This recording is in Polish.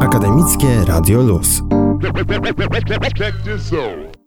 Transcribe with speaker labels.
Speaker 1: Akademickie Radio Luz.
Speaker 2: Check this out.